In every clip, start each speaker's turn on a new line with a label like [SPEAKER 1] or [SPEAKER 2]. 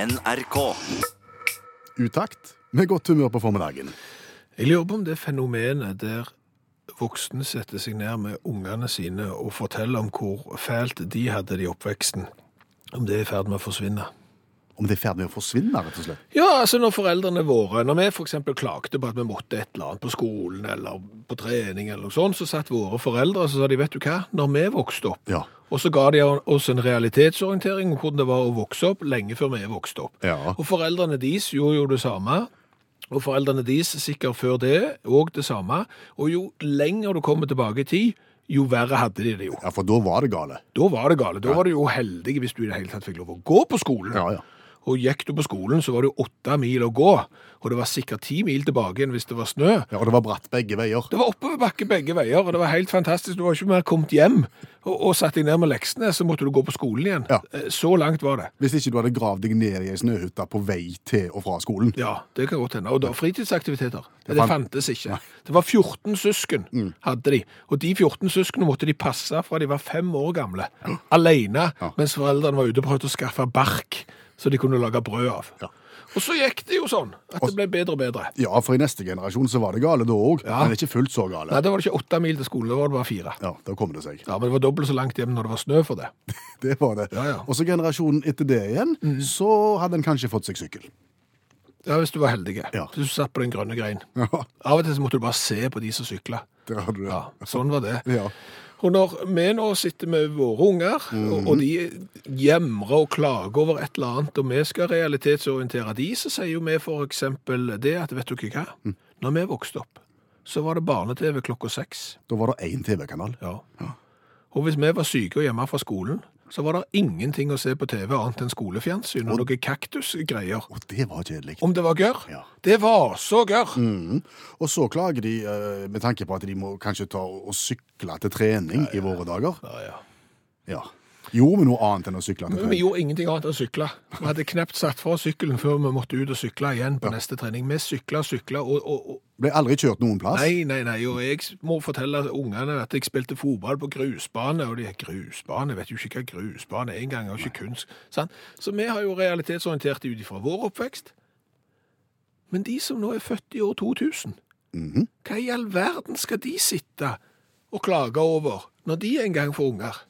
[SPEAKER 1] NRK.
[SPEAKER 2] Utakt med godt humør på formiddagen.
[SPEAKER 3] Jeg lurer på om det fenomenet der voksne setter seg ned med ungene sine og forteller om hvor fælt de hadde det i oppveksten, om det er i ferd med å forsvinne.
[SPEAKER 2] Om det er i ferd med å forsvinne, rett og slett.
[SPEAKER 3] Ja, altså når foreldrene våre, når vi for eksempel klagde på at vi måtte et eller annet på skolen eller på trening eller noe sånt, så satt våre foreldre og så sa de, vet du hva, når vi vokste opp,
[SPEAKER 2] Ja.
[SPEAKER 3] og så ga de oss en realitetsorientering om hvordan det var å vokse opp lenge før vi vokste opp.
[SPEAKER 2] Ja.
[SPEAKER 3] Og foreldrene deres gjorde jo det samme. Og foreldrene deres sikkert før det òg det samme. Og jo lenger du kommer tilbake i tid, jo verre hadde de det jo.
[SPEAKER 2] ja, for da var det gale.
[SPEAKER 3] Da var det gale. Da var du jo heldig hvis du i det hele tatt fikk lov å gå på skolen.
[SPEAKER 2] Ja, ja.
[SPEAKER 3] Og gikk du på skolen, så var det jo åtte mil å gå. Og det var sikkert ti mil tilbake igjen hvis det var snø.
[SPEAKER 2] Ja, og det var bratt begge veier.
[SPEAKER 3] Det var oppoverbakke begge veier, og det var helt fantastisk. Du var ikke mer kommet hjem og, og satt deg ned med leksene, så måtte du gå på skolen igjen.
[SPEAKER 2] Ja.
[SPEAKER 3] Eh, Så langt var det.
[SPEAKER 2] Hvis ikke du hadde gravd deg ned i ei snøhytte på vei til og fra skolen.
[SPEAKER 3] Ja, det kan godt hende. Og da fritidsaktiviteter. Det,
[SPEAKER 2] fant- Mm.
[SPEAKER 3] fantes ikke. Det var 14 søsken hadde de, og de 14 søskene måtte de passe fra de var fem år gamle, alene, mens foreldrene var ute og prøvde å skaffe bark, så de kunne lage brød av.
[SPEAKER 2] Ja.
[SPEAKER 3] Og så gikk det jo sånn, at det ble bedre og bedre.
[SPEAKER 2] Ja, for i neste generasjon så var det gale da òg,
[SPEAKER 3] Ja.
[SPEAKER 2] men ikke fullt så gale.
[SPEAKER 3] Nei, da var det ikke åtte mil til skolen, da var det bare fire.
[SPEAKER 2] Ja, da kom det seg.
[SPEAKER 3] Ja, men det var dobbelt så langt hjem når det var snø for det.
[SPEAKER 2] Det var det.
[SPEAKER 3] Ja, ja.
[SPEAKER 2] Og så generasjonen etter det igjen, så hadde en kanskje fått seg sykkel.
[SPEAKER 3] Ja, hvis du var heldig.
[SPEAKER 2] Ja.
[SPEAKER 3] Hvis Du satt på den grønne greien.
[SPEAKER 2] Ja,
[SPEAKER 3] Av og til så måtte du bare se på de som sykla.
[SPEAKER 2] der hadde du det.
[SPEAKER 3] Ja, sånn var det.
[SPEAKER 2] Ja.
[SPEAKER 3] Og når vi nå sitter med våre unger, og, og de gjemrer og klager over et eller annet, og vi skal realitetsorientere de, så sier jo vi for eksempel det at, vet du ikke hva, når vi vokste opp, så var det barne-TV klokka seks.
[SPEAKER 2] Da var det én TV-kanal.
[SPEAKER 3] Ja. Og hvis vi var syke og hjemme fra skolen, så var det ingenting å se på TV annet enn skolefjernsyn og noen kaktusgreier.
[SPEAKER 2] Og det var kjedelig.
[SPEAKER 3] Om det var gørr?
[SPEAKER 2] Ja.
[SPEAKER 3] Det var så gørr!
[SPEAKER 2] Og så klager de eh, med tanke på at de må kanskje ta og og sykle til trening i våre dager.
[SPEAKER 3] Ja, ja.
[SPEAKER 2] Ja. Gjorde vi noe annet enn å sykle til
[SPEAKER 3] Men vi
[SPEAKER 2] trening?
[SPEAKER 3] gjorde ingenting annet enn å sykle. Vi hadde knapt satt fra sykkelen før vi måtte ut og sykle igjen på neste trening. Vi sykla, sykla og, og, og
[SPEAKER 2] Ble aldri kjørt noen plass.
[SPEAKER 3] Nei, nei, nei. Og jeg må fortelle ungene at jeg spilte fotball på grusbane, og de er grusbane, jeg vet jo ikke hva grusbane er engang, og ikke kunst. Sant? Så vi har jo realitetsorientert de ut ifra vår oppvekst. Men de som nå er født i år 2000, hva i all verden skal de sitte og klage over når de en gang får unger?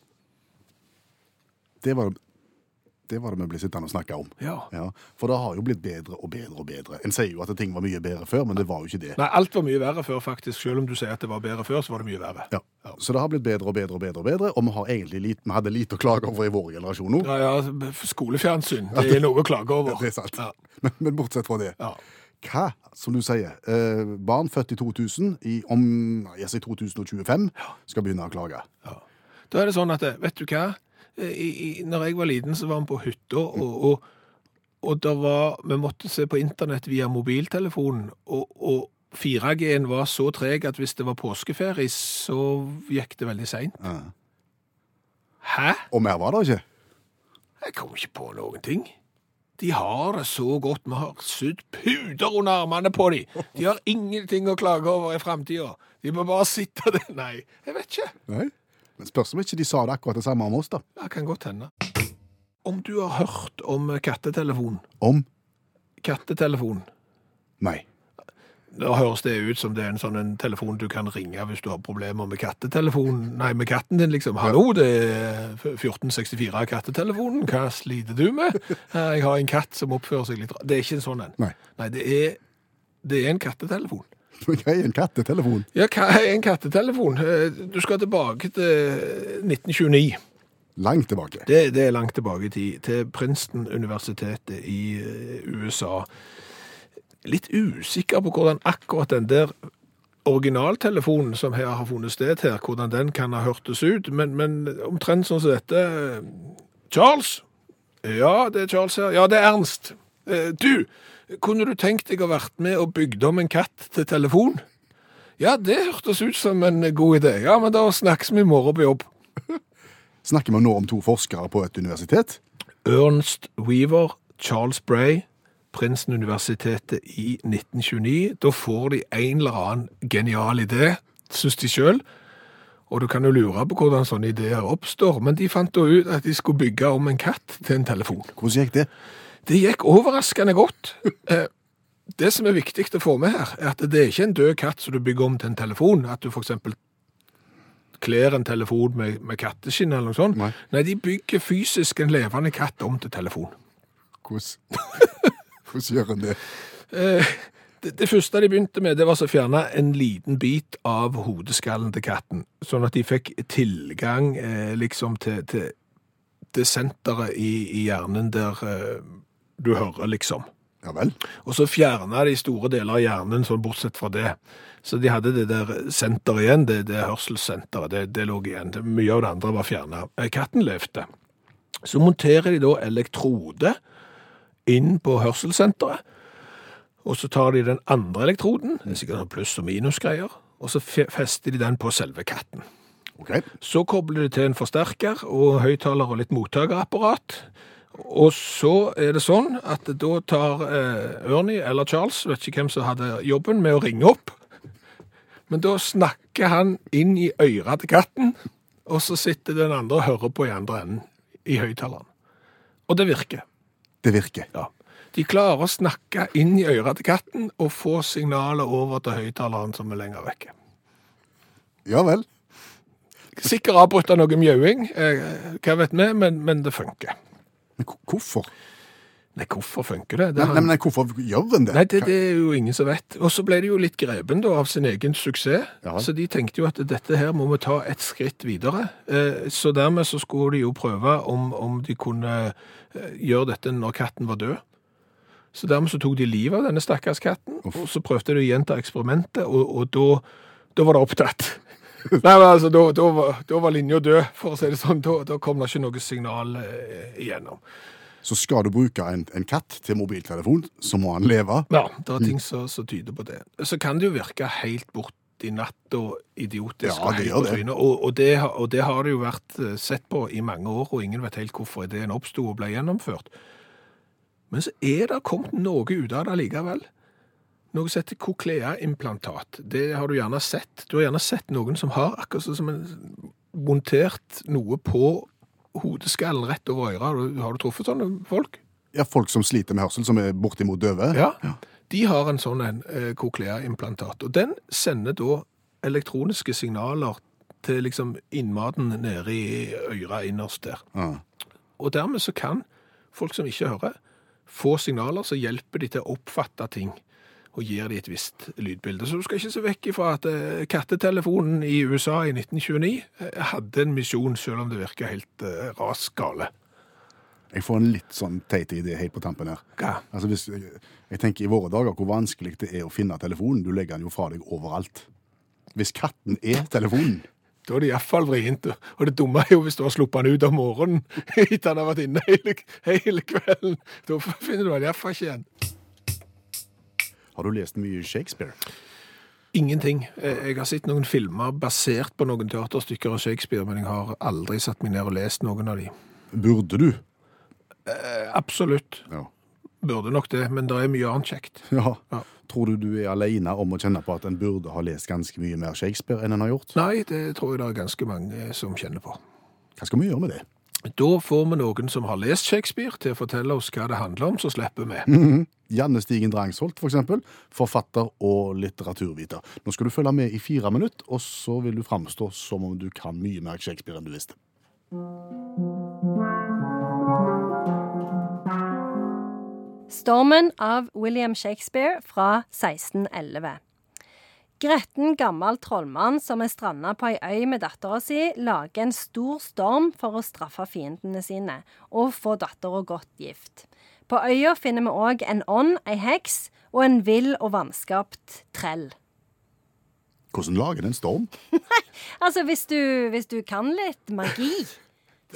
[SPEAKER 2] Det var det var det vi ble sittende og snakke om.
[SPEAKER 3] Ja.
[SPEAKER 2] Ja, For det har jo blitt bedre og bedre og bedre. En sier jo at ting var mye bedre før, men det var jo ikke det.
[SPEAKER 3] Nei, alt var mye verre før, faktisk. Selv om du sier at det var bedre før, så var det mye verre.
[SPEAKER 2] Ja. Så det har blitt bedre og bedre og bedre, og bedre, og vi, har egentlig lite, vi hadde lite å klage over i vår generasjon nå.
[SPEAKER 3] Ja, ja, skolefjernsyn. Det er noe å klage over.
[SPEAKER 2] Det er sant.
[SPEAKER 3] Ja.
[SPEAKER 2] Men, men bortsett fra det.
[SPEAKER 3] Ja.
[SPEAKER 2] Hva, som du sier, eh, barn født i 2000, i, om jeg sier 2025, skal begynne å klage.
[SPEAKER 3] Da er det sånn at, vet du hva? Eh, I, i, når jeg var liten, så var vi på hytta, og, og, og da var, vi måtte se på internett via mobiltelefonen, og, og 4G-en var så treg at hvis det var påskeferie, så gikk det veldig sent.
[SPEAKER 2] Ja.
[SPEAKER 3] Hæ?
[SPEAKER 2] Og mer var det ikke.
[SPEAKER 3] Jeg kom ikke på noen ting. De har det så godt. Vi har sydd puder under armene på dem. De har ingenting å klage over i framtida. De må bare sitte der. Nei, jeg vet ikke.
[SPEAKER 2] Nei. Men spørs om ikke de sa det akkurat det samme om oss, da.
[SPEAKER 3] Det kan godt hende. Om du har hørt om kattetelefon
[SPEAKER 2] Om
[SPEAKER 3] Kattetelefon.
[SPEAKER 2] meg.
[SPEAKER 3] Da høres det ut som det er en sånn en telefon du kan ringe hvis du har problemer med kattetelefonen. Nei, med katten din, liksom. Hallo, det er 1464-kattetelefonen. Hva sliter du med? Eh, Jeg har en katt som oppfører seg litt rart. Det er ikke en sånn en.
[SPEAKER 2] Nei.
[SPEAKER 3] Nei, det er, det er en kattetelefon.
[SPEAKER 2] Men Hva er en kattetelefon?
[SPEAKER 3] Ja, hva er en kattetelefon? Eh, Du skal tilbake til 1929.
[SPEAKER 2] Langt tilbake.
[SPEAKER 3] Det, det er langt tilbake i tid, til Princeton-universitetet i eh, USA. Litt usikker på hvordan akkurat den der originaltelefonen som her har funnet sted her, hvordan den kan ha hørtes ut, men, men omtrent sånn som dette. Charles? Ja, det er Charles her. Ja, det er Ernst. Eh, Du, kunne du tenkt deg å vært med og bygd om en katt til telefon? Ja, det hørtes ut som en god idé. Ja, men da snakkes vi i morgen på jobb.
[SPEAKER 2] Snakker vi nå om to forskere på et universitet?
[SPEAKER 3] Ernst Weaver, Charles Bray, Princeton-universitetet i 1929. Da får de en eller annen genial idé, synes de selv. Og du kan jo lure på hvordan sånne ideer oppstår, men de fant da ut at de skulle bygge om en katt til en telefon.
[SPEAKER 2] Hvordan gikk det?
[SPEAKER 3] Det gikk overraskende godt. Eh, Det som er viktig å få med her, er at det er ikke en død katt som du bygger om til en telefon. At du f.eks. kler en telefon med, med katteskinn eller noe sånt.
[SPEAKER 2] Nei.
[SPEAKER 3] de bygger fysisk en levende katt om til telefon.
[SPEAKER 2] Hvordan, hvordan gjør en det?
[SPEAKER 3] Eh, Det, det første de begynte med, det var så å fjerne en liten bit av hodeskallen til katten. Sånn at de fikk tilgang eh, liksom til, til, til senteret i, i hjernen der eh, du hører, liksom.
[SPEAKER 2] Ja vel.
[SPEAKER 3] Og så fjerna de store deler av hjernen, sånn bortsett fra det. Så de hadde det der senteret igjen, det, det hørselssenteret, det, det lå igjen. Det- Mye av det andre var fjerna. Katten levde. Så monterer de da elektrode inn på hørselssenteret, og så tar de den andre elektroden, det er sikkert noen pluss- og minusgreier, og så fe- fester de den på selve katten.
[SPEAKER 2] OK.
[SPEAKER 3] Så kobler du til en forsterker og høyttaler og litt mottakerapparat. Og så er det sånn at da tar eh, Ernie eller Charles, vet ikke hvem som hadde jobben, med å ringe opp. Men da snakker han inn i øret til katten, og så sitter den andre og hører på i andre enden i høyttaleren. Og det virker.
[SPEAKER 2] Det virker.
[SPEAKER 3] Ja. De klarer å snakke inn i øret til katten og få signalet over til høyttaleren som er lenger vekke.
[SPEAKER 2] Ja vel.
[SPEAKER 3] Sikkert avbrutt av noe mjauing, eh, hva vet vi, men, men det funker.
[SPEAKER 2] Men hvor- hvorfor?
[SPEAKER 3] Nei, hvorfor funker det? det
[SPEAKER 2] Nei,
[SPEAKER 3] har-
[SPEAKER 2] nei, men hvorfor gjør en det?
[SPEAKER 3] Nei, det, det er jo ingen som vet. Og så ble de jo litt grepen da, av sin egen suksess,
[SPEAKER 2] Ja vel.
[SPEAKER 3] så de tenkte jo at dette her må vi ta et skritt videre. Eh, så dermed så skulle de jo prøve om, om de kunne eh, gjøre dette når katten var død. Så dermed så tok de livet av denne stakkars katten, og så prøvde de å gjenta eksperimentet, og, og da, da var det opptatt. Nei, men altså, da, da, var, da var linja død, for å si det sånn. Da, da kom det ikke noe signal eh, igjennom.
[SPEAKER 2] Så skal du bruke en, en katt til mobiltelefon, så må han leve.
[SPEAKER 3] Ja, det er ting som som tyder på det. Så kan det jo virke helt bort i natt og idiotisk
[SPEAKER 2] Ja,
[SPEAKER 3] og
[SPEAKER 2] det
[SPEAKER 3] helt
[SPEAKER 2] gjør
[SPEAKER 3] på
[SPEAKER 2] det.
[SPEAKER 3] trynet. Og, og, det, har- og det har det jo vært eh, sett på i mange år, og ingen vet helt hvorfor ideen oppsto og ble gjennomført. Men så er det kommet noe ut av det likevel. Noe som heter koklea-implantat. Det har du gjerne sett. Du har gjerne sett noen som har akkurat sånn som en montert noe på hodeskallen rett over øret. Har du truffet sånne folk?
[SPEAKER 2] Ja, folk som sliter med hørsel, som er bortimot døve.
[SPEAKER 3] Ja. De har en sånn en eh, kokleaimplantat, og den sender da elektroniske signaler til liksom innmaten nede i øra innerst der.
[SPEAKER 2] Ja.
[SPEAKER 3] Og dermed så kan folk som ikke hører, få signaler som hjelper de til å oppfatte ting, og gir de et visst lydbilde. Så du skal ikke se vekk ifra at eh, kattetelefonen i USA i 1929 eh, hadde en misjon, selv om det virker helt eh, rasgale.
[SPEAKER 2] Jeg får en litt sånn teit idé helt på tampen her.
[SPEAKER 3] Hva?
[SPEAKER 2] Altså hvis, jeg tenker i våre dager hvor vanskelig det er å finne telefonen. Du legger den jo fra deg overalt. Hvis katten er telefonen
[SPEAKER 3] Da er det iallfall vrient. Og det dumme er jo hvis du har sluppet den ut om morgenen etter han har vært inne hele, hele kvelden. Da finner du den iallfall ikke igjen.
[SPEAKER 2] Har du lest mye Shakespeare?
[SPEAKER 3] Ingenting. Eh, Jeg har sett noen filmer basert på noen teaterstykker av Shakespeare, men jeg har aldri satt meg ned og lest noen av de.
[SPEAKER 2] Burde du?
[SPEAKER 3] Eh, Absolutt.
[SPEAKER 2] Ja.
[SPEAKER 3] Burde nok det, men det er mye annet kjekt. Ja.
[SPEAKER 2] Tror du du er alene om å kjenne på at en burde ha lest ganske mye mer Shakespeare enn en har gjort?
[SPEAKER 3] Nei, det tror jeg det er ganske mange eh, som kjenner på.
[SPEAKER 2] Hva skal vi gjøre med det?
[SPEAKER 3] Da får vi noen som har lest Shakespeare, til å fortelle oss hva det handler om, så slipper vi.
[SPEAKER 2] Janne Stigen Drangsholt, for eksempel, forfatter og litteraturviter. Nå skal du følge med i fire minutter, og så vil du framstå som om du kan mye mer Shakespeare enn du visste.
[SPEAKER 1] Stormen av William Shakespeare fra 1611. Gretten gammel trollmann som er stranda på ei øy med dattera si, lager en stor storm for å straffe fiendene sine og få dattera godt gift. På øya finner vi òg en ånd, ei heks og en vill og vanskapt trell.
[SPEAKER 2] Hvordan lager den en storm?
[SPEAKER 1] Altså, hvis du, hvis du kan litt magi,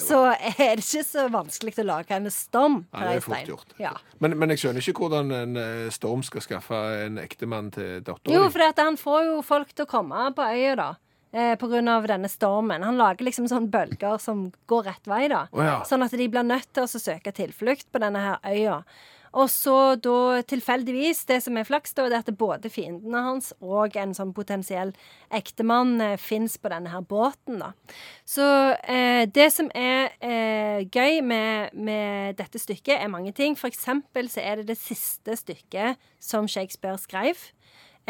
[SPEAKER 1] så er det ikke så vanskelig å lage en storm.
[SPEAKER 3] Nei, det er fort gjort.
[SPEAKER 1] Ja.
[SPEAKER 3] Men, men jeg skjønner ikke hvordan en eh, storm skal skaffe en ektemann til datteren.
[SPEAKER 1] Jo, for at han får jo folk til å komme på øya, da. Eh, på grunn av denne stormen. Han lager liksom sånne bølger som går rett vei, da.
[SPEAKER 3] Å ja.
[SPEAKER 1] Sånn at de blir nødt til å søke tilflukt på denne her øya. Og så da tilfeldigvis, det som er flaks, da, er det at både fiendene hans og en sånn potensiell ektemann eh, fins på denne her båten, da. Så eh, det som er eh, gøy med, med dette stykket, er mange ting. For eksempel så er det det siste stykket som Shakespeare skrev.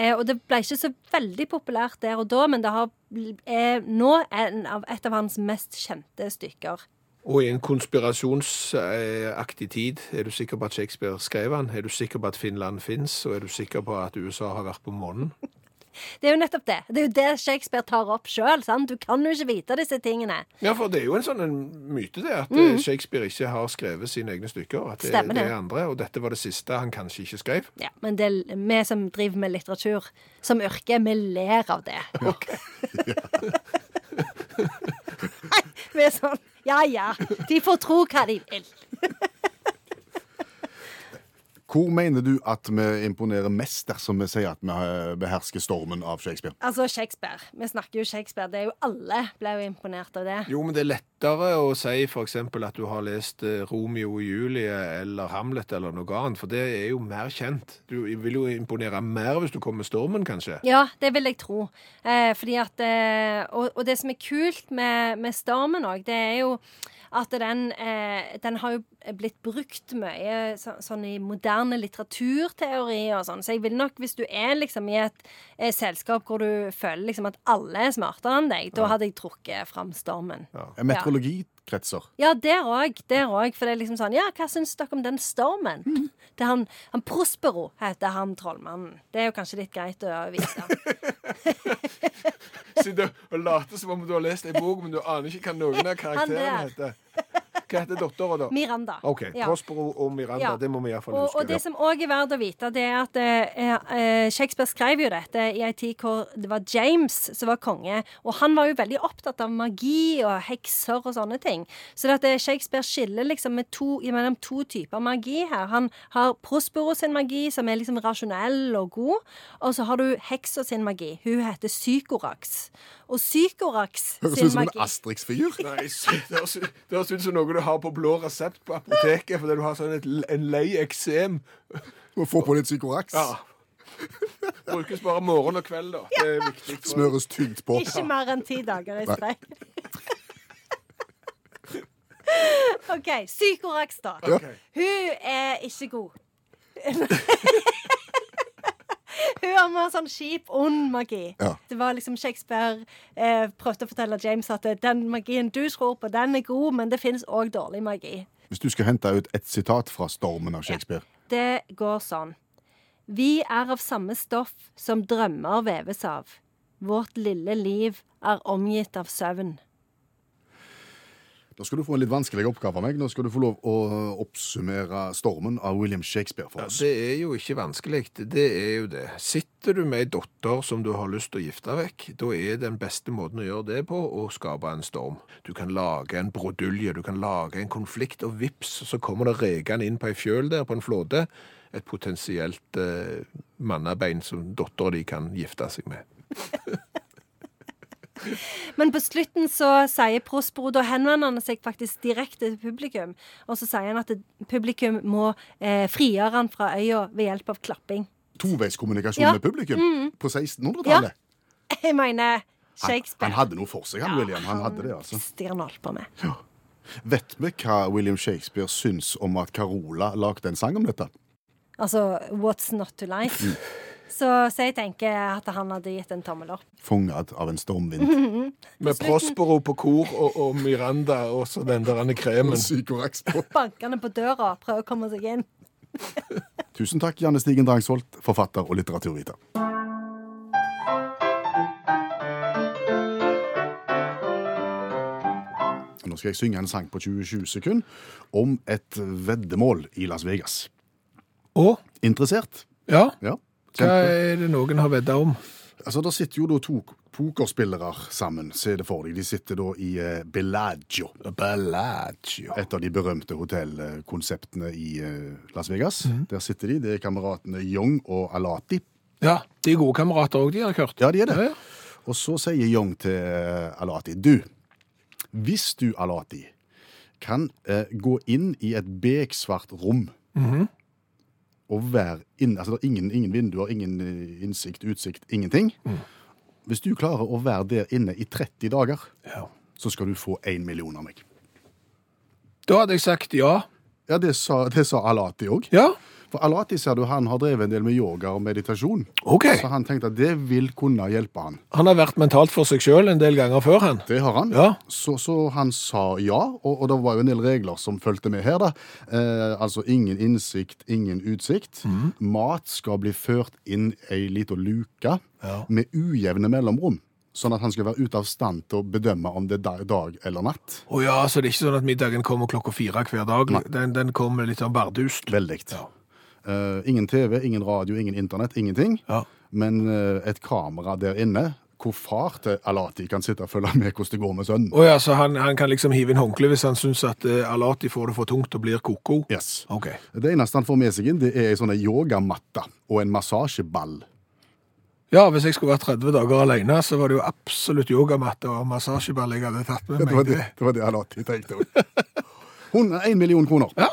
[SPEAKER 1] Eh, og det ble ikke så veldig populært der og da, men det har, bl- er nå en av, et av hans mest kjente stykker.
[SPEAKER 3] Og i en konspirasjonsaktig tid, er du sikker på at Shakespeare skrev han? Er du sikker på at Finland fins? Og er du sikker på at USA har vært på månen?
[SPEAKER 1] Det er jo nettopp det. Det er jo det Shakespeare tar opp sjøl. Du kan jo ikke vite disse tingene.
[SPEAKER 3] Ja, for det er jo en sånn en myte, det, at eh, Shakespeare ikke har skrevet sine egne stykker. At det,
[SPEAKER 1] Mm. Stemmer
[SPEAKER 3] det
[SPEAKER 1] det.
[SPEAKER 3] er andre, og dette var det siste han kanskje ikke skrev.
[SPEAKER 1] Ja, Men det er vi som driver med litteratur som yrke, vi ler av det. Nei, vi er sånn Ja ja, de får tro hva de vil.
[SPEAKER 2] Hvor mener du at vi imponerer mest dersom vi sier at vi eh, behersker stormen av Shakespeare?
[SPEAKER 1] Altså Shakespeare. Vi snakker jo Shakespeare. Det er jo alle ble jo imponert av det.
[SPEAKER 3] Jo, men det er lettere å si f.eks. at du har lest eh, Romeo og Julie eller Hamlet eller noe annet, for det er jo mer kjent. Du vil jo imponere mer hvis du kommer med stormen, kanskje.
[SPEAKER 1] Ja, det vil jeg tro. Eh, fordi at, eh, og, og det som er kult med, med Stormen òg, det er jo at den, eh, den har jo blitt brukt mye så, sånn i moderne litteraturteori og sånn. Så jeg vil nok, hvis du er liksom i et, eh, selskap hvor du føler liksom at alle er smartere enn deg, da hadde jeg trukket fram Stormen. Ja.
[SPEAKER 2] Eh, Meteorologikretser.
[SPEAKER 1] der òg. Der òg. For det er liksom sånn Ja, hva syns dere om den stormen? Det er han, han Prospero heter han trollmannen. Det er jo kanskje litt greit å vite.
[SPEAKER 3] Sitte og late som om du har lest ei bok, men du aner ikke hva noen av karakterene
[SPEAKER 1] Han
[SPEAKER 3] heter. Hva heter dattera, da?
[SPEAKER 1] Miranda.
[SPEAKER 3] OK.
[SPEAKER 1] Ja.
[SPEAKER 3] Prospero og Miranda.
[SPEAKER 1] Ja.
[SPEAKER 3] Det må vi iallfall
[SPEAKER 1] Og,
[SPEAKER 3] huske.
[SPEAKER 1] og det som òg er verdt å vite, det er at eh, eh, Shakespeare skrev jo dette i ei tid hvor det var James som var konge, og han var jo veldig opptatt av magi og hekser og sånne ting. Så det at eh, Shakespeare skiller liksom med to, mellom to typer magi her. Han har Prospero sin magi, som er liksom rasjonell og god, og så har du heksa sin magi. Hun heter Psykorax. Og Psykorax
[SPEAKER 2] Høres
[SPEAKER 1] sin
[SPEAKER 2] ut som en
[SPEAKER 1] magi
[SPEAKER 2] Asterix-figur.
[SPEAKER 3] Nei, sy- det høres ut- det høres ut som noe du har på blå resept på apoteket fordi du har sånn et, l- en lei eksem.
[SPEAKER 2] Må Få på litt psykoraks.
[SPEAKER 3] Ja. Brukes bare morgen og kveld, da. Det er viktig. for-
[SPEAKER 2] Smøres tynt på.
[SPEAKER 1] Ikke mer enn ti dager i strekk. OK. Psykorax, da. Hun er ikke god. Hun har mer sånn kjip, ond magi.
[SPEAKER 2] Ja.
[SPEAKER 1] Det var liksom Shakespeare eh, prøvde å fortelle James at eh, den magien du tror på, den er god, men det finnes òg dårlig magi.
[SPEAKER 2] Hvis du skal hente ut et sitat fra stormen av Shakespeare
[SPEAKER 1] Det går sånn. Vi er av samme stoff som drømmer veves av. Vårt lille liv er omgitt av søvn.
[SPEAKER 2] Da skal du få en litt vanskelig oppgave av meg. Nå skal du få lov å eh, oppsummere stormen av William Shakespeare for
[SPEAKER 3] Ja,
[SPEAKER 2] oss.
[SPEAKER 3] det er jo ikke vanskelig. Det er jo det. Sitter du med ei datter som du har lyst til å gifte vekk, da er den beste måten å gjøre det på å skape en storm. Du kan lage en brodulje, du kan lage en konflikt, og vips, så kommer det rekende inn på ei fjøl der, på en flåte. Et potensielt eh, mannabein som dattera di kan gifte seg med.
[SPEAKER 1] Men på slutten så sier Prospero, da henvender han seg faktisk direkte til publikum, og så sier han at det- publikum må eh, frigjøre han fra øya ved hjelp av klapping.
[SPEAKER 2] Toveiskommunikasjon
[SPEAKER 1] Ja. Mm.
[SPEAKER 2] med publikum på 1600-tallet.
[SPEAKER 1] Ja, jeg mener
[SPEAKER 2] Han,
[SPEAKER 1] Shakespeare.
[SPEAKER 2] han hadde noe for seg, han William. Han hadde det, altså.
[SPEAKER 1] visste han holdt på med.
[SPEAKER 2] Vet vi hva William Shakespeare syns om at Carola lagde en sang om dette?
[SPEAKER 1] Altså What's Not To Like.
[SPEAKER 2] Mm.
[SPEAKER 1] Så, så jeg tenker at han hadde gitt en tommel opp.
[SPEAKER 2] Fanget av en stormvind.
[SPEAKER 3] Med Prospero på kor og, og Miranda og så den der andre kremen.
[SPEAKER 2] Psykoraks på.
[SPEAKER 1] Bankende på døra, prøver å komme seg inn.
[SPEAKER 2] Tusen takk, Janne Stigen Drangsholt, forfatter og litteraturviter. Nå skal jeg synge en sang på 20-20 sekunder om et veddemål i Las Vegas.
[SPEAKER 3] Å?
[SPEAKER 2] Interessert?
[SPEAKER 3] Ja?
[SPEAKER 2] Ja.
[SPEAKER 3] Hva
[SPEAKER 2] Kjempe.
[SPEAKER 3] er det noen har vedda om?
[SPEAKER 2] Altså, Der sitter jo da to pokerspillere sammen, se det for deg. De sitter da i eh, Bellagio.
[SPEAKER 3] Bellagio.
[SPEAKER 2] Et av de berømte hotellkonseptene i eh, Las Vegas.
[SPEAKER 3] Mhm.
[SPEAKER 2] Der sitter de. Det er kameratene Young og Alati.
[SPEAKER 3] Ja, de er gode kamerater òg, de har jeg hørt.
[SPEAKER 2] Ja, de er det.
[SPEAKER 3] Ja, ja.
[SPEAKER 2] Og så sier Young til eh, Alati Du, hvis du, Alati, kan eh, gå inn i et beksvart rom å være inne. Altså, det er ingen, ingen vinduer, ingen eh, innsikt, utsikt, ingenting. Hvis du klarer å være der inne i 30 dager,
[SPEAKER 3] Ja.
[SPEAKER 2] så skal du få 1 million av meg.
[SPEAKER 3] Da hadde jeg sagt ja.
[SPEAKER 2] Ja, det sa, det sa Alati òg.
[SPEAKER 3] Ja,
[SPEAKER 2] For Alati ser du, han har drevet en del med yoga og meditasjon.
[SPEAKER 3] OK.
[SPEAKER 2] Så han tenkte at det vil kunne hjelpe han.
[SPEAKER 3] Han har vært mentalt for seg sjøl en del ganger før, han.
[SPEAKER 2] Det har han.
[SPEAKER 3] Ja.
[SPEAKER 2] Så, så han sa ja, og, og det var jo en del regler som fulgte med her. da. Eh, altså ingen innsikt, ingen utsikt.
[SPEAKER 3] Mhm.
[SPEAKER 2] Mat skal bli ført inn ei lita luke
[SPEAKER 3] Ja.
[SPEAKER 2] med ujevne mellomrom. Sånn at han skal være ute av stand til å bedømme om det er da- dag eller natt.
[SPEAKER 3] Å ja, så det er ikke sånn at middagen kommer klokka fire hver dag. Den, den kommer litt sånn bardust.
[SPEAKER 2] Veldig. Eh, ingen TV, ingen radio, ingen internett, ingenting.
[SPEAKER 3] Ja.
[SPEAKER 2] Men eh, et kamera der inne, hvor far til Alati kan sitte og følge med hvordan det går med sønnen.
[SPEAKER 3] Å ja, så han, han kan liksom hive inn håndkle hvis han syns at eh, Alati får det for tungt og blir koko?
[SPEAKER 2] Yes.
[SPEAKER 3] OK.
[SPEAKER 2] Det eneste han får med seg inn, det er ei sånn yogamatte og en massasjeball.
[SPEAKER 3] Ja, hvis jeg skulle vært 30 dager alene, så var det jo absolutt yogamatte og massasjeball jeg hadde tatt med
[SPEAKER 2] Det var
[SPEAKER 3] meg.
[SPEAKER 2] det, det, var det han alltid tenkte. også. 101 million kroner.
[SPEAKER 3] Ja,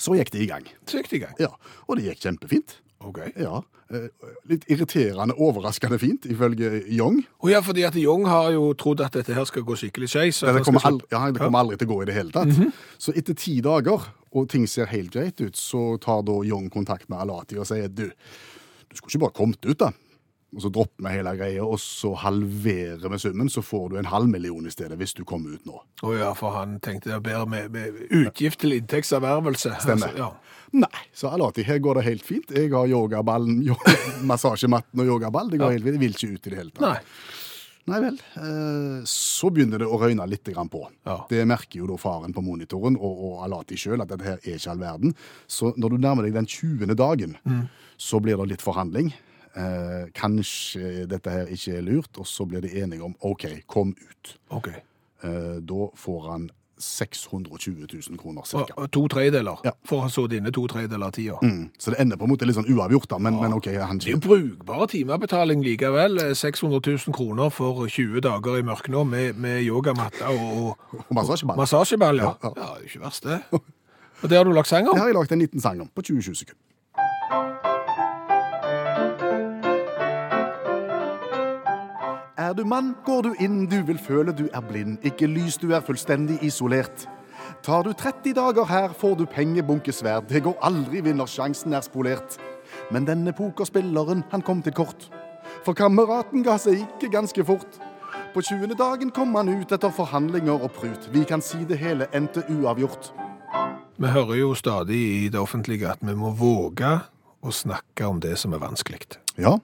[SPEAKER 2] Så gikk det i gang.
[SPEAKER 3] sykt i gang.
[SPEAKER 2] Ja, Og det gikk kjempefint.
[SPEAKER 3] OK.
[SPEAKER 2] Ja, eh, Litt irriterende, overraskende fint, ifølge Young.
[SPEAKER 3] Å ja, fordi at Jung har jo trodd at dette her skal gå skikkelig skeis.
[SPEAKER 2] Det kommer, aldri, ja, det kommer aldri til å gå i det hele tatt. Så etter ti dager, og ting ser helt greit ut, så tar da Young kontakt med Alati og sier du, du skulle ikke bare kommet ut, da. Og så dropper vi hele greia, og så halverer vi summen, så får du en halv million i stedet hvis du kommer ut nå.
[SPEAKER 3] Å ja, for han tenkte det bedre med, med utgift til inntektservervelse.
[SPEAKER 2] Stemmer.
[SPEAKER 3] Altså, ja.
[SPEAKER 2] Nei, sa Alati, her går det helt fint. Jeg har yogaballen, yoga- massasjematten og yogaball. Det går helt fint. Jeg vil ikke ut i det hele tatt.
[SPEAKER 3] Nei.
[SPEAKER 2] Nei vel. Eh, Så begynner det å røyne litt grann på.
[SPEAKER 3] Ja.
[SPEAKER 2] Det merker jo da faren på monitoren og, og Alati sjøl at dette her er ikke all verden. Så når du nærmer deg den 20. dagen,
[SPEAKER 3] Mm.
[SPEAKER 2] så blir det litt forhandling. Eh, kanskje dette her ikke er lurt, og så blir de enige om OK, kom ut.
[SPEAKER 3] OK.
[SPEAKER 2] Eh, da får han 620 000 kroner
[SPEAKER 3] Og,
[SPEAKER 2] cirka.
[SPEAKER 3] og to tredjedeler.
[SPEAKER 2] Ja.
[SPEAKER 3] For han så dine to tredjedeler av tida.
[SPEAKER 2] Mm. Så det ender på en måte litt sånn uavgjort, da. Men, men OK, han
[SPEAKER 3] Det er jo brukbar timebetaling likevel. Eh, 600 000 kroner for 20 dager i mørket nå med, med yogamatte og, og
[SPEAKER 2] Og massasjeball.
[SPEAKER 3] massasjeball. Ja. ja, det er jo ikke verst, det. Og det har du lagt sang om?
[SPEAKER 2] Det har jeg lagd en liten sang om på 20-20 sekunder. Er du mann, går du inn, du vil føle du er blind. Ikke lys, du er fullstendig isolert. Tar du 30 dager her, får du pengebunke sverd. Det går aldri, vinnersjansen er spolert. Men denne pokerspilleren, han kom til kort. For kameraten ga seg ikke ganske fort. På 20. dagen kom han ut etter forhandlinger og prut. Vi kan si det hele endte uavgjort.
[SPEAKER 3] Vi hører jo stadig i det offentlige at vi må våge å snakke om det som er vanskelig.
[SPEAKER 2] Ja,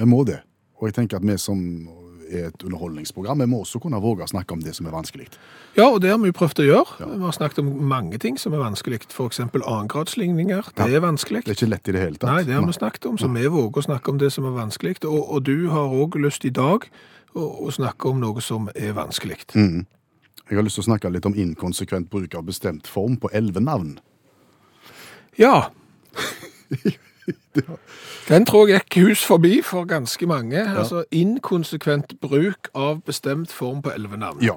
[SPEAKER 2] vi må det. Og jeg tenker at vi som er et underholdningsprogram, vi må også kunne våge å snakke om det som er vanskelig.
[SPEAKER 3] Ja, og det har vi jo prøvd å gjøre. Vi har snakket om mange ting som er vanskelig. F.eks. annengradsligninger. Det er vanskelig.
[SPEAKER 2] Det er ikke lett i det hele tatt.
[SPEAKER 3] Nei, det har vi snakket om, så vi våger å snakke om det som er vanskelig. Og, og du har òg lyst i dag å, å snakke om noe som er vanskelig.
[SPEAKER 2] Mm. Jeg har lyst til å snakke litt om inkonsekvent bruk av bestemt form på elvenavn.
[SPEAKER 3] Ja. Den tror jeg gikk hus forbi for ganske mange. Altså inkonsekvent bruk av bestemt form på elvenavn.
[SPEAKER 2] Ja,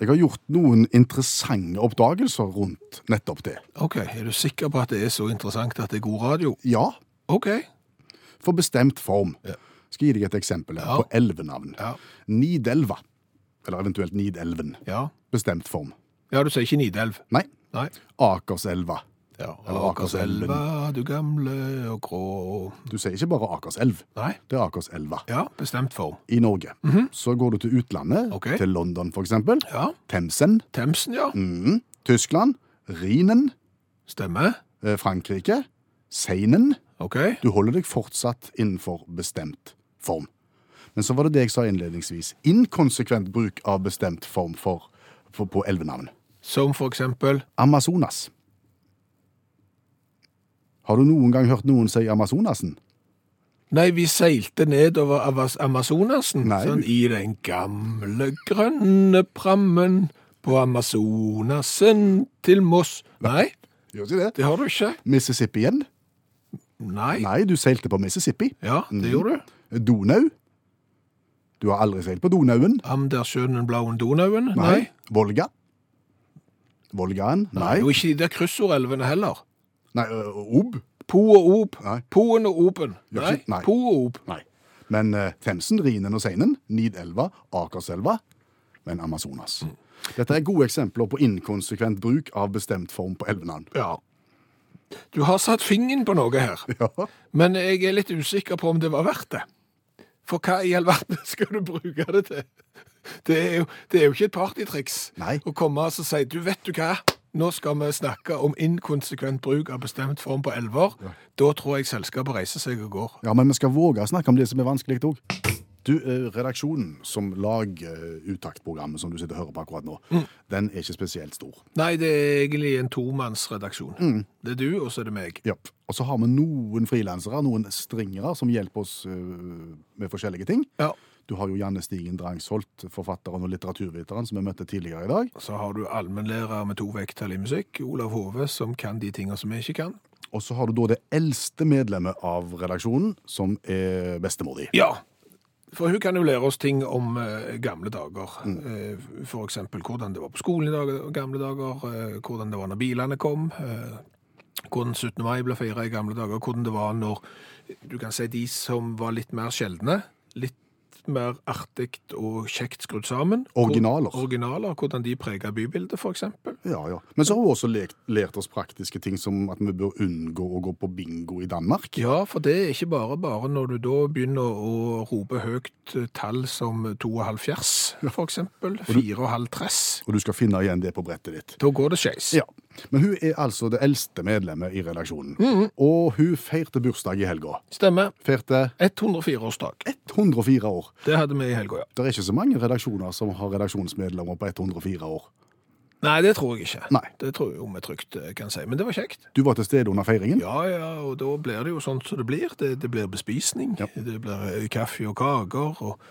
[SPEAKER 2] jeg har gjort noen interessante oppdagelser rundt nettopp det.
[SPEAKER 3] Ok, Er du sikker på at det er så interessant at det er god radio?
[SPEAKER 2] Ja,
[SPEAKER 3] OK.
[SPEAKER 2] for bestemt form. Skal gi deg et eksempel her,
[SPEAKER 3] Ja.
[SPEAKER 2] på elvenavn.
[SPEAKER 3] Ja.
[SPEAKER 2] Nidelva, eller eventuelt Nidelven.
[SPEAKER 3] Ja,
[SPEAKER 2] Bestemt form.
[SPEAKER 3] ja du sier ikke Nidelv?
[SPEAKER 2] Nei,
[SPEAKER 3] Nei.
[SPEAKER 2] Akerselva.
[SPEAKER 3] Ja,
[SPEAKER 2] Eller Akerselven.
[SPEAKER 3] Akerselva, du gamle og grå
[SPEAKER 2] Du sier ikke bare Akerselv,
[SPEAKER 3] Nei.
[SPEAKER 2] det er Akerselva.
[SPEAKER 3] Ja, bestemt form.
[SPEAKER 2] i Norge. Så går du til utlandet,
[SPEAKER 3] Mhm. Ok.
[SPEAKER 2] til London for eksempel.
[SPEAKER 3] Ja.
[SPEAKER 2] Themsen,
[SPEAKER 3] Themsen, ja.
[SPEAKER 2] mhm, Tyskland, Rhinen,
[SPEAKER 3] Stemmer.
[SPEAKER 2] eh, Frankrike, Seinen.
[SPEAKER 3] OK.
[SPEAKER 2] Du holder deg fortsatt innenfor bestemt form. Men så var det det jeg sa innledningsvis. Inkonsekvent bruk av bestemt form for, for, på elvenavn.
[SPEAKER 3] Som for eksempel
[SPEAKER 2] Amazonas. Har du noen gang hørt noen si Amazonasen?
[SPEAKER 3] Nei, vi seilte nedover Avas- Amazonasen,
[SPEAKER 2] Nei,
[SPEAKER 3] sånn i den gamle grønne prammen på Amazonasen til Moss. Nei,
[SPEAKER 2] Gjør ikke
[SPEAKER 3] det har du ikke.
[SPEAKER 2] Mississippi igjen?
[SPEAKER 3] Nei.
[SPEAKER 2] Nei, du seilte på Mississippi.
[SPEAKER 3] Ja, det gjorde du.
[SPEAKER 2] Mm. Donau? Du har aldri seilt på Donauen?
[SPEAKER 3] Am der sjønen blauen Donauen? Nei.
[SPEAKER 2] Volga? Volgaen? Nei.
[SPEAKER 3] Og ikke de der kryssordelvene heller.
[SPEAKER 2] Nei, ø, Ob?
[SPEAKER 3] Po og op.
[SPEAKER 2] Nei.
[SPEAKER 3] Poen og open.
[SPEAKER 2] Gjør
[SPEAKER 3] Nei.
[SPEAKER 2] ikke- nei.
[SPEAKER 3] Po og op.
[SPEAKER 2] Nei. Men eh, Themsen, Rhinen og Seinen, Nidelva, Akerselva, men Amazonas.
[SPEAKER 3] Mm.
[SPEAKER 2] Dette er gode eksempler på inkonsekvent bruk av bestemt form på elvenavn.
[SPEAKER 3] Ja. Du har satt fingeren på noe her,
[SPEAKER 2] Ja.
[SPEAKER 3] men jeg er litt usikker på om det var verdt det. For hva i all verden skal du bruke det til? Det er jo, det er jo ikke et partytriks
[SPEAKER 2] Nei.
[SPEAKER 3] å komme og så si du vet du hva, nå skal vi snakke om inkonsekvent bruk av bestemt form på elver. Da tror jeg selskapet reiser seg og går.
[SPEAKER 2] ja, men vi skal våge å snakke om det som er vanskelig òg. Du, eh, Redaksjonen som lag eh, Utaktprogrammet som du sitter og hører på akkurat nå,
[SPEAKER 3] Mm.
[SPEAKER 2] den er ikke spesielt stor.
[SPEAKER 3] Nei, det er egentlig en tomannsredaksjon.
[SPEAKER 2] Mm.
[SPEAKER 3] Det er du, og så er det meg.
[SPEAKER 2] Japp. Og så har vi noen frilansere, noen stringere, som hjelper oss eh, med forskjellige ting.
[SPEAKER 3] Ja.
[SPEAKER 2] Du har jo Janne Stigen Drangsholt, forfatteren og litteraturviteren, som vi møtte tidligere i dag.
[SPEAKER 3] Så har du allmennlærer med to vekttall i musikk, Olav Hove, som kan de tingene som vi ikke kan.
[SPEAKER 2] Og så har du da det eldste medlemmet av redaksjonen, som er bestemor di.
[SPEAKER 3] Ja, for hun kan jo lære oss ting om eh, gamle dager. Eh, for eksempel hvordan det var på skolen i dag, gamle dager, eh, hvordan det var når bilene kom, eh, hvordan 17. mai ble feiret i gamle dager, hvordan det var når, du kan si de som var litt mer sjeldne, litt mer artig og kjekt skrudd sammen.
[SPEAKER 2] Originaler.
[SPEAKER 3] Hvor, originaler, hvordan de preget bybildet, for eksempel.
[SPEAKER 2] Ja, ja. Men så har hun også lekt, lært oss praktiske ting som at vi bør unngå å gå på bingo i Danmark.
[SPEAKER 3] Ja, for det er ikke bare bare når du da begynner å rope høyt eh, tall som 2,5 fjers, for eksempel, 4,5 tress.
[SPEAKER 2] Og du skal finne igjen det på brettet ditt.
[SPEAKER 3] Da går det skeis.
[SPEAKER 2] Ja. Men hun er altså det eldste medlemmet i redaksjonen. Og hun feirte bursdag i helga.
[SPEAKER 3] Stemmer.
[SPEAKER 2] Feirte
[SPEAKER 3] 104-årsdag.
[SPEAKER 2] 104 år.
[SPEAKER 3] Det hadde vi i helga, ja.
[SPEAKER 2] Det er ikke så mange redaksjoner som har redaksjonsmedlemmer på 104 år.
[SPEAKER 3] Nei, det tror jeg ikke.
[SPEAKER 2] Nei.
[SPEAKER 3] Det tror jeg jo vi trygt eh, kan si. Men det var kjekt.
[SPEAKER 2] Du var til stede under feiringen.
[SPEAKER 3] Ja, ja, og da blir det jo sånn som det blir. Det, det blir bespisning,
[SPEAKER 2] Ja.
[SPEAKER 3] det blir eh, kaffe og kaker, og,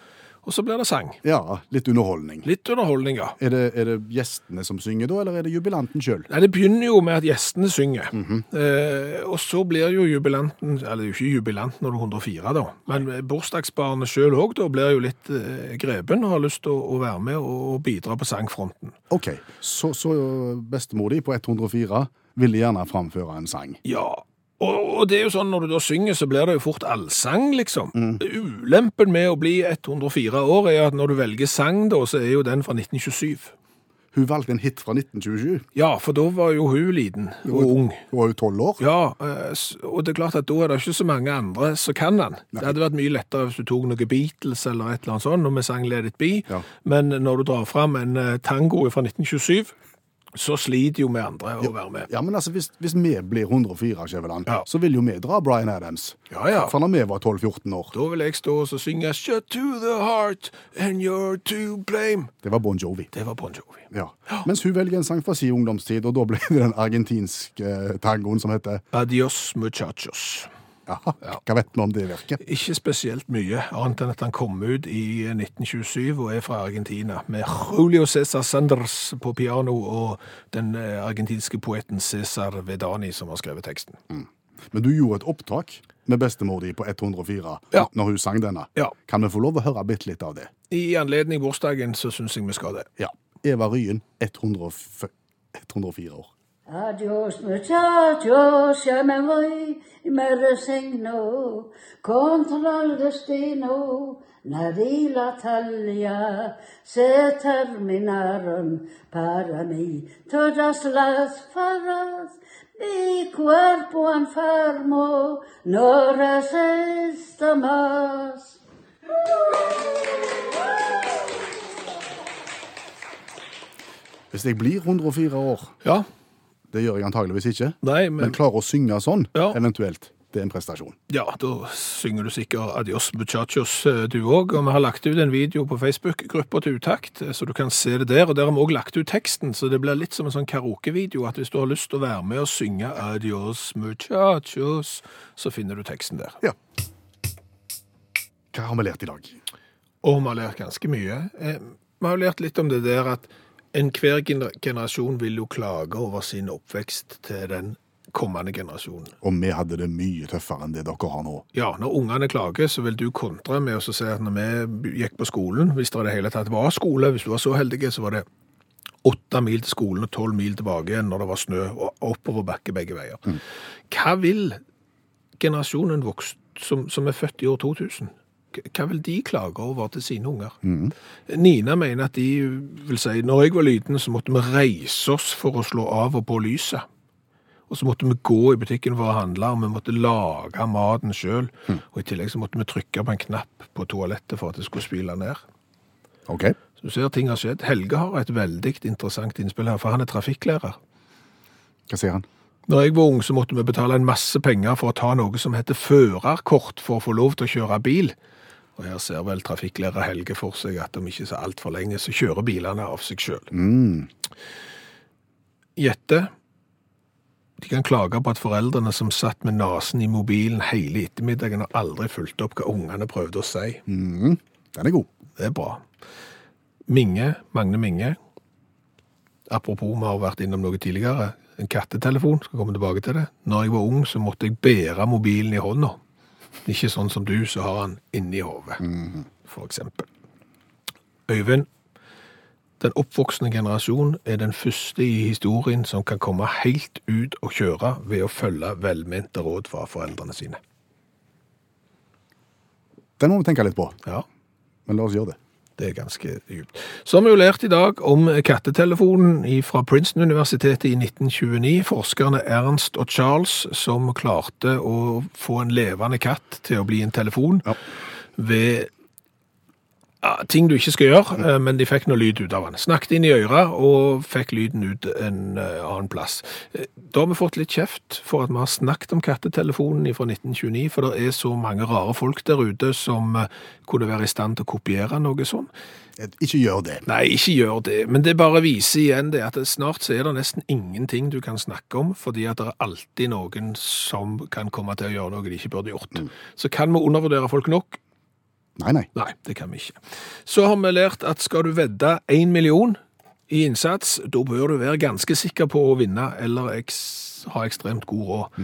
[SPEAKER 3] og så blir det sang.
[SPEAKER 2] Ja, litt underholdning.
[SPEAKER 3] Litt underholdning, ja.
[SPEAKER 2] Er det, er det gjestene som synger da, eller er det jubilanten sjøl?
[SPEAKER 3] Nei, Det begynner jo med at gjestene synger. eh, og så blir jo jubilanten Eller det er jo ikke jubilant når du er 104, da. Men bursdagsbarnet sjøl òg da blir jo litt eh, grepen og har lyst til å, å være med og, og bidra på sangfronten.
[SPEAKER 2] OK, så, så bestemor di på 104 ville gjerne framføre en sang.
[SPEAKER 3] Ja. Og, og det er jo sånn når du da synger, så blir det jo fort allsang, liksom. Ulempen med å bli 104 år er at når du velger sang, da, så er jo den fra 1927.
[SPEAKER 2] Hun valgte en hit fra 1927.
[SPEAKER 3] Ja, for da var jo hun liten og ung.
[SPEAKER 2] Hun var jo tolv år.
[SPEAKER 3] Ja, eh, s- og det er klart at da er det ikke så mange andre som kan den. Det hadde vært mye lettere hvis du tok noe Beatles eller et eller annet sånt, når vi sang Let It Be,
[SPEAKER 2] Ja.
[SPEAKER 3] men når du drar fram en eh, tango fra 1927, så sliter jo vi andre å være med.
[SPEAKER 2] Ja, men altså, Hvis, hvis vi blir 104, Skjæveland,
[SPEAKER 3] Ja.
[SPEAKER 2] så vil jo vi dra Bryan Adams.
[SPEAKER 3] Ja, ja.
[SPEAKER 2] Fra når vi var 12-14 år.
[SPEAKER 3] Da vil jeg stå og så synge Shut to the heart and you're to blame.
[SPEAKER 2] Det var Bon Jovi.
[SPEAKER 3] Det var Bon Jovi.
[SPEAKER 2] Ja. Mens hun velger en sang fra sin ungdomstid, og da ble det den argentinske eh, tangoen som heter
[SPEAKER 3] Adios muchachos.
[SPEAKER 2] Jaha, hva vet vi om det virker?
[SPEAKER 3] Ikke spesielt mye, annet enn at han kom ut i 1927 og er fra Argentina, med Julio César Sanders på piano og den eh, argentinske poeten César Vedani som har skrevet teksten.
[SPEAKER 2] Men du gjorde et opptak med bestemor di på 104
[SPEAKER 3] Ja.
[SPEAKER 2] når hun sang denne.
[SPEAKER 3] Ja.
[SPEAKER 2] Kan vi få lov å høre bitte litt av det?
[SPEAKER 3] I anledning bursdagen så syns jeg vi skal det.
[SPEAKER 2] Ja. Eva Ryen, 104 104 år.
[SPEAKER 4] Adios muchachos, ya me voy y me resigno contra el destino. Nadie la talla se terminaron para mí todas las faras. Mi cuerpo enfermo no resiste más.
[SPEAKER 2] Hvis jeg blir 104 år,
[SPEAKER 3] Ja.
[SPEAKER 2] det gjør jeg antageligvis ikke,
[SPEAKER 3] Nei, men
[SPEAKER 2] men klarer å synge sånn,
[SPEAKER 3] Ja.
[SPEAKER 2] eventuelt, det er en prestasjon.
[SPEAKER 3] Ja, da synger du sikkert Adios muchachos, eh, du òg. Og vi har lagt ut en video på Facebook-gruppa til Utakt, eh, så du kan se det der. Og der har vi òg lagt ut teksten, så det blir litt som en sånn karaokevideo. At hvis du har lyst til å være med og synge Adios muchachos, så finner du teksten der.
[SPEAKER 2] Ja. Hva har vi lært i dag?
[SPEAKER 3] Og vi har lært ganske mye. Eh, Vi har jo lært litt om det der at enhver gener- generasjon vil jo klage over sin oppvekst til den kommende generasjonen.
[SPEAKER 2] Om vi hadde det mye tøffere enn det dere har nå.
[SPEAKER 3] Ja, når ungene klager, så vil du kontre med å så si at når vi gikk på skolen, hvis det i det hele tatt var skole, hvis du var så heldig, så var det åtte mil til skolen og tolv mil tilbake igjen når det var snø, og oppoverbakke begge veier. Hva vil generasjonen vokst, som, som er født i år 2000, K- hva vil de klage over til sine unger? Nina mener at de vil si når jeg var liten, så måtte vi reise oss for å slå av og på lyset. Og så måtte vi gå i butikken for å handle, og vi måtte lage maten sjøl. Og i tillegg så måtte vi trykke på en knapp på toalettet for at det skulle spyle ned.
[SPEAKER 2] OK.
[SPEAKER 3] Så du ser ting har skjedd. Helge har et veldig interessant innspill her, for han er trafikklærer.
[SPEAKER 2] Hva sier han?
[SPEAKER 3] Når jeg var ung, så måtte vi betale en masse penger for å ta noe som heter førerkort for å få lov til å kjøre bil. Og her ser vel trafikklærer Helge for seg at om ikke så altfor lenge, så kjører bilene av seg sjøl.
[SPEAKER 2] Mm,
[SPEAKER 3] Gjette. De kan klage på at foreldrene som satt med nesen i mobilen hele ettermiddagen, har aldri fulgt opp hva ungene prøvde å si.
[SPEAKER 2] Den er god.
[SPEAKER 3] Det er bra. Minge, Magne Minge. Apropos, vi har vært innom noe tidligere. En kattetelefon, skal komme tilbake til det. Når jeg var ung, så måtte jeg bære mobilen i hånda. Ikke sånn som du, så har han inni hodet, for eksempel. Øyvind, den oppvoksende generasjon er den første i historien som kan komme helt ut og kjøre ved å følge velmente råd fra foreldrene sine.
[SPEAKER 2] Den må vi tenke litt på,
[SPEAKER 3] Ja,
[SPEAKER 2] men la oss gjøre det.
[SPEAKER 3] Det er ganske dypt. Så har vi jo lært i dag om kattetelefonen fra Princeton-universitetet i 1929. Forskerne Ernst og Charles som klarte å få en levende katt til å bli en telefon
[SPEAKER 2] Ja.
[SPEAKER 3] ved ja, ting du ikke skal gjøre, eh, men de fikk noe lyd ut av den. Snakket inn i øret og fikk lyden ut en eh, annen plass. Eh, Da har vi fått litt kjeft for at vi har snakket om kattetelefonen fra 1929, for det er så mange rare folk der ute som eh, kunne være i stand til å kopiere noe sånn.
[SPEAKER 2] Ikke gjør det.
[SPEAKER 3] Nei, ikke gjør det, men det bare viser igjen det at det snart så er det nesten ingenting du kan snakke om, fordi at det er alltid noen som kan komme til å gjøre noe de ikke burde gjort. Så kan vi undervurdere folk nok?
[SPEAKER 2] Nei, nei.
[SPEAKER 3] Nei, det kan vi ikke. Så har vi lært at skal du vedde én million i innsats, da bør du være ganske sikker på å vinne eller eks ha ekstremt god råd.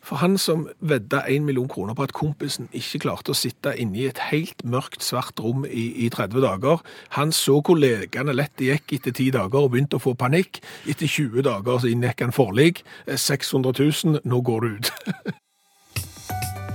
[SPEAKER 3] For han som vedda én million kroner på at kompisen ikke klarte å sitte inne i et helt mørkt, svart rom i, i 30 dager, han så kollegene lett det gikk etter 10 dager og begynte å få panikk. Etter 20 dager så inngikk han forlik. Eh, 600 000, nå går du ut.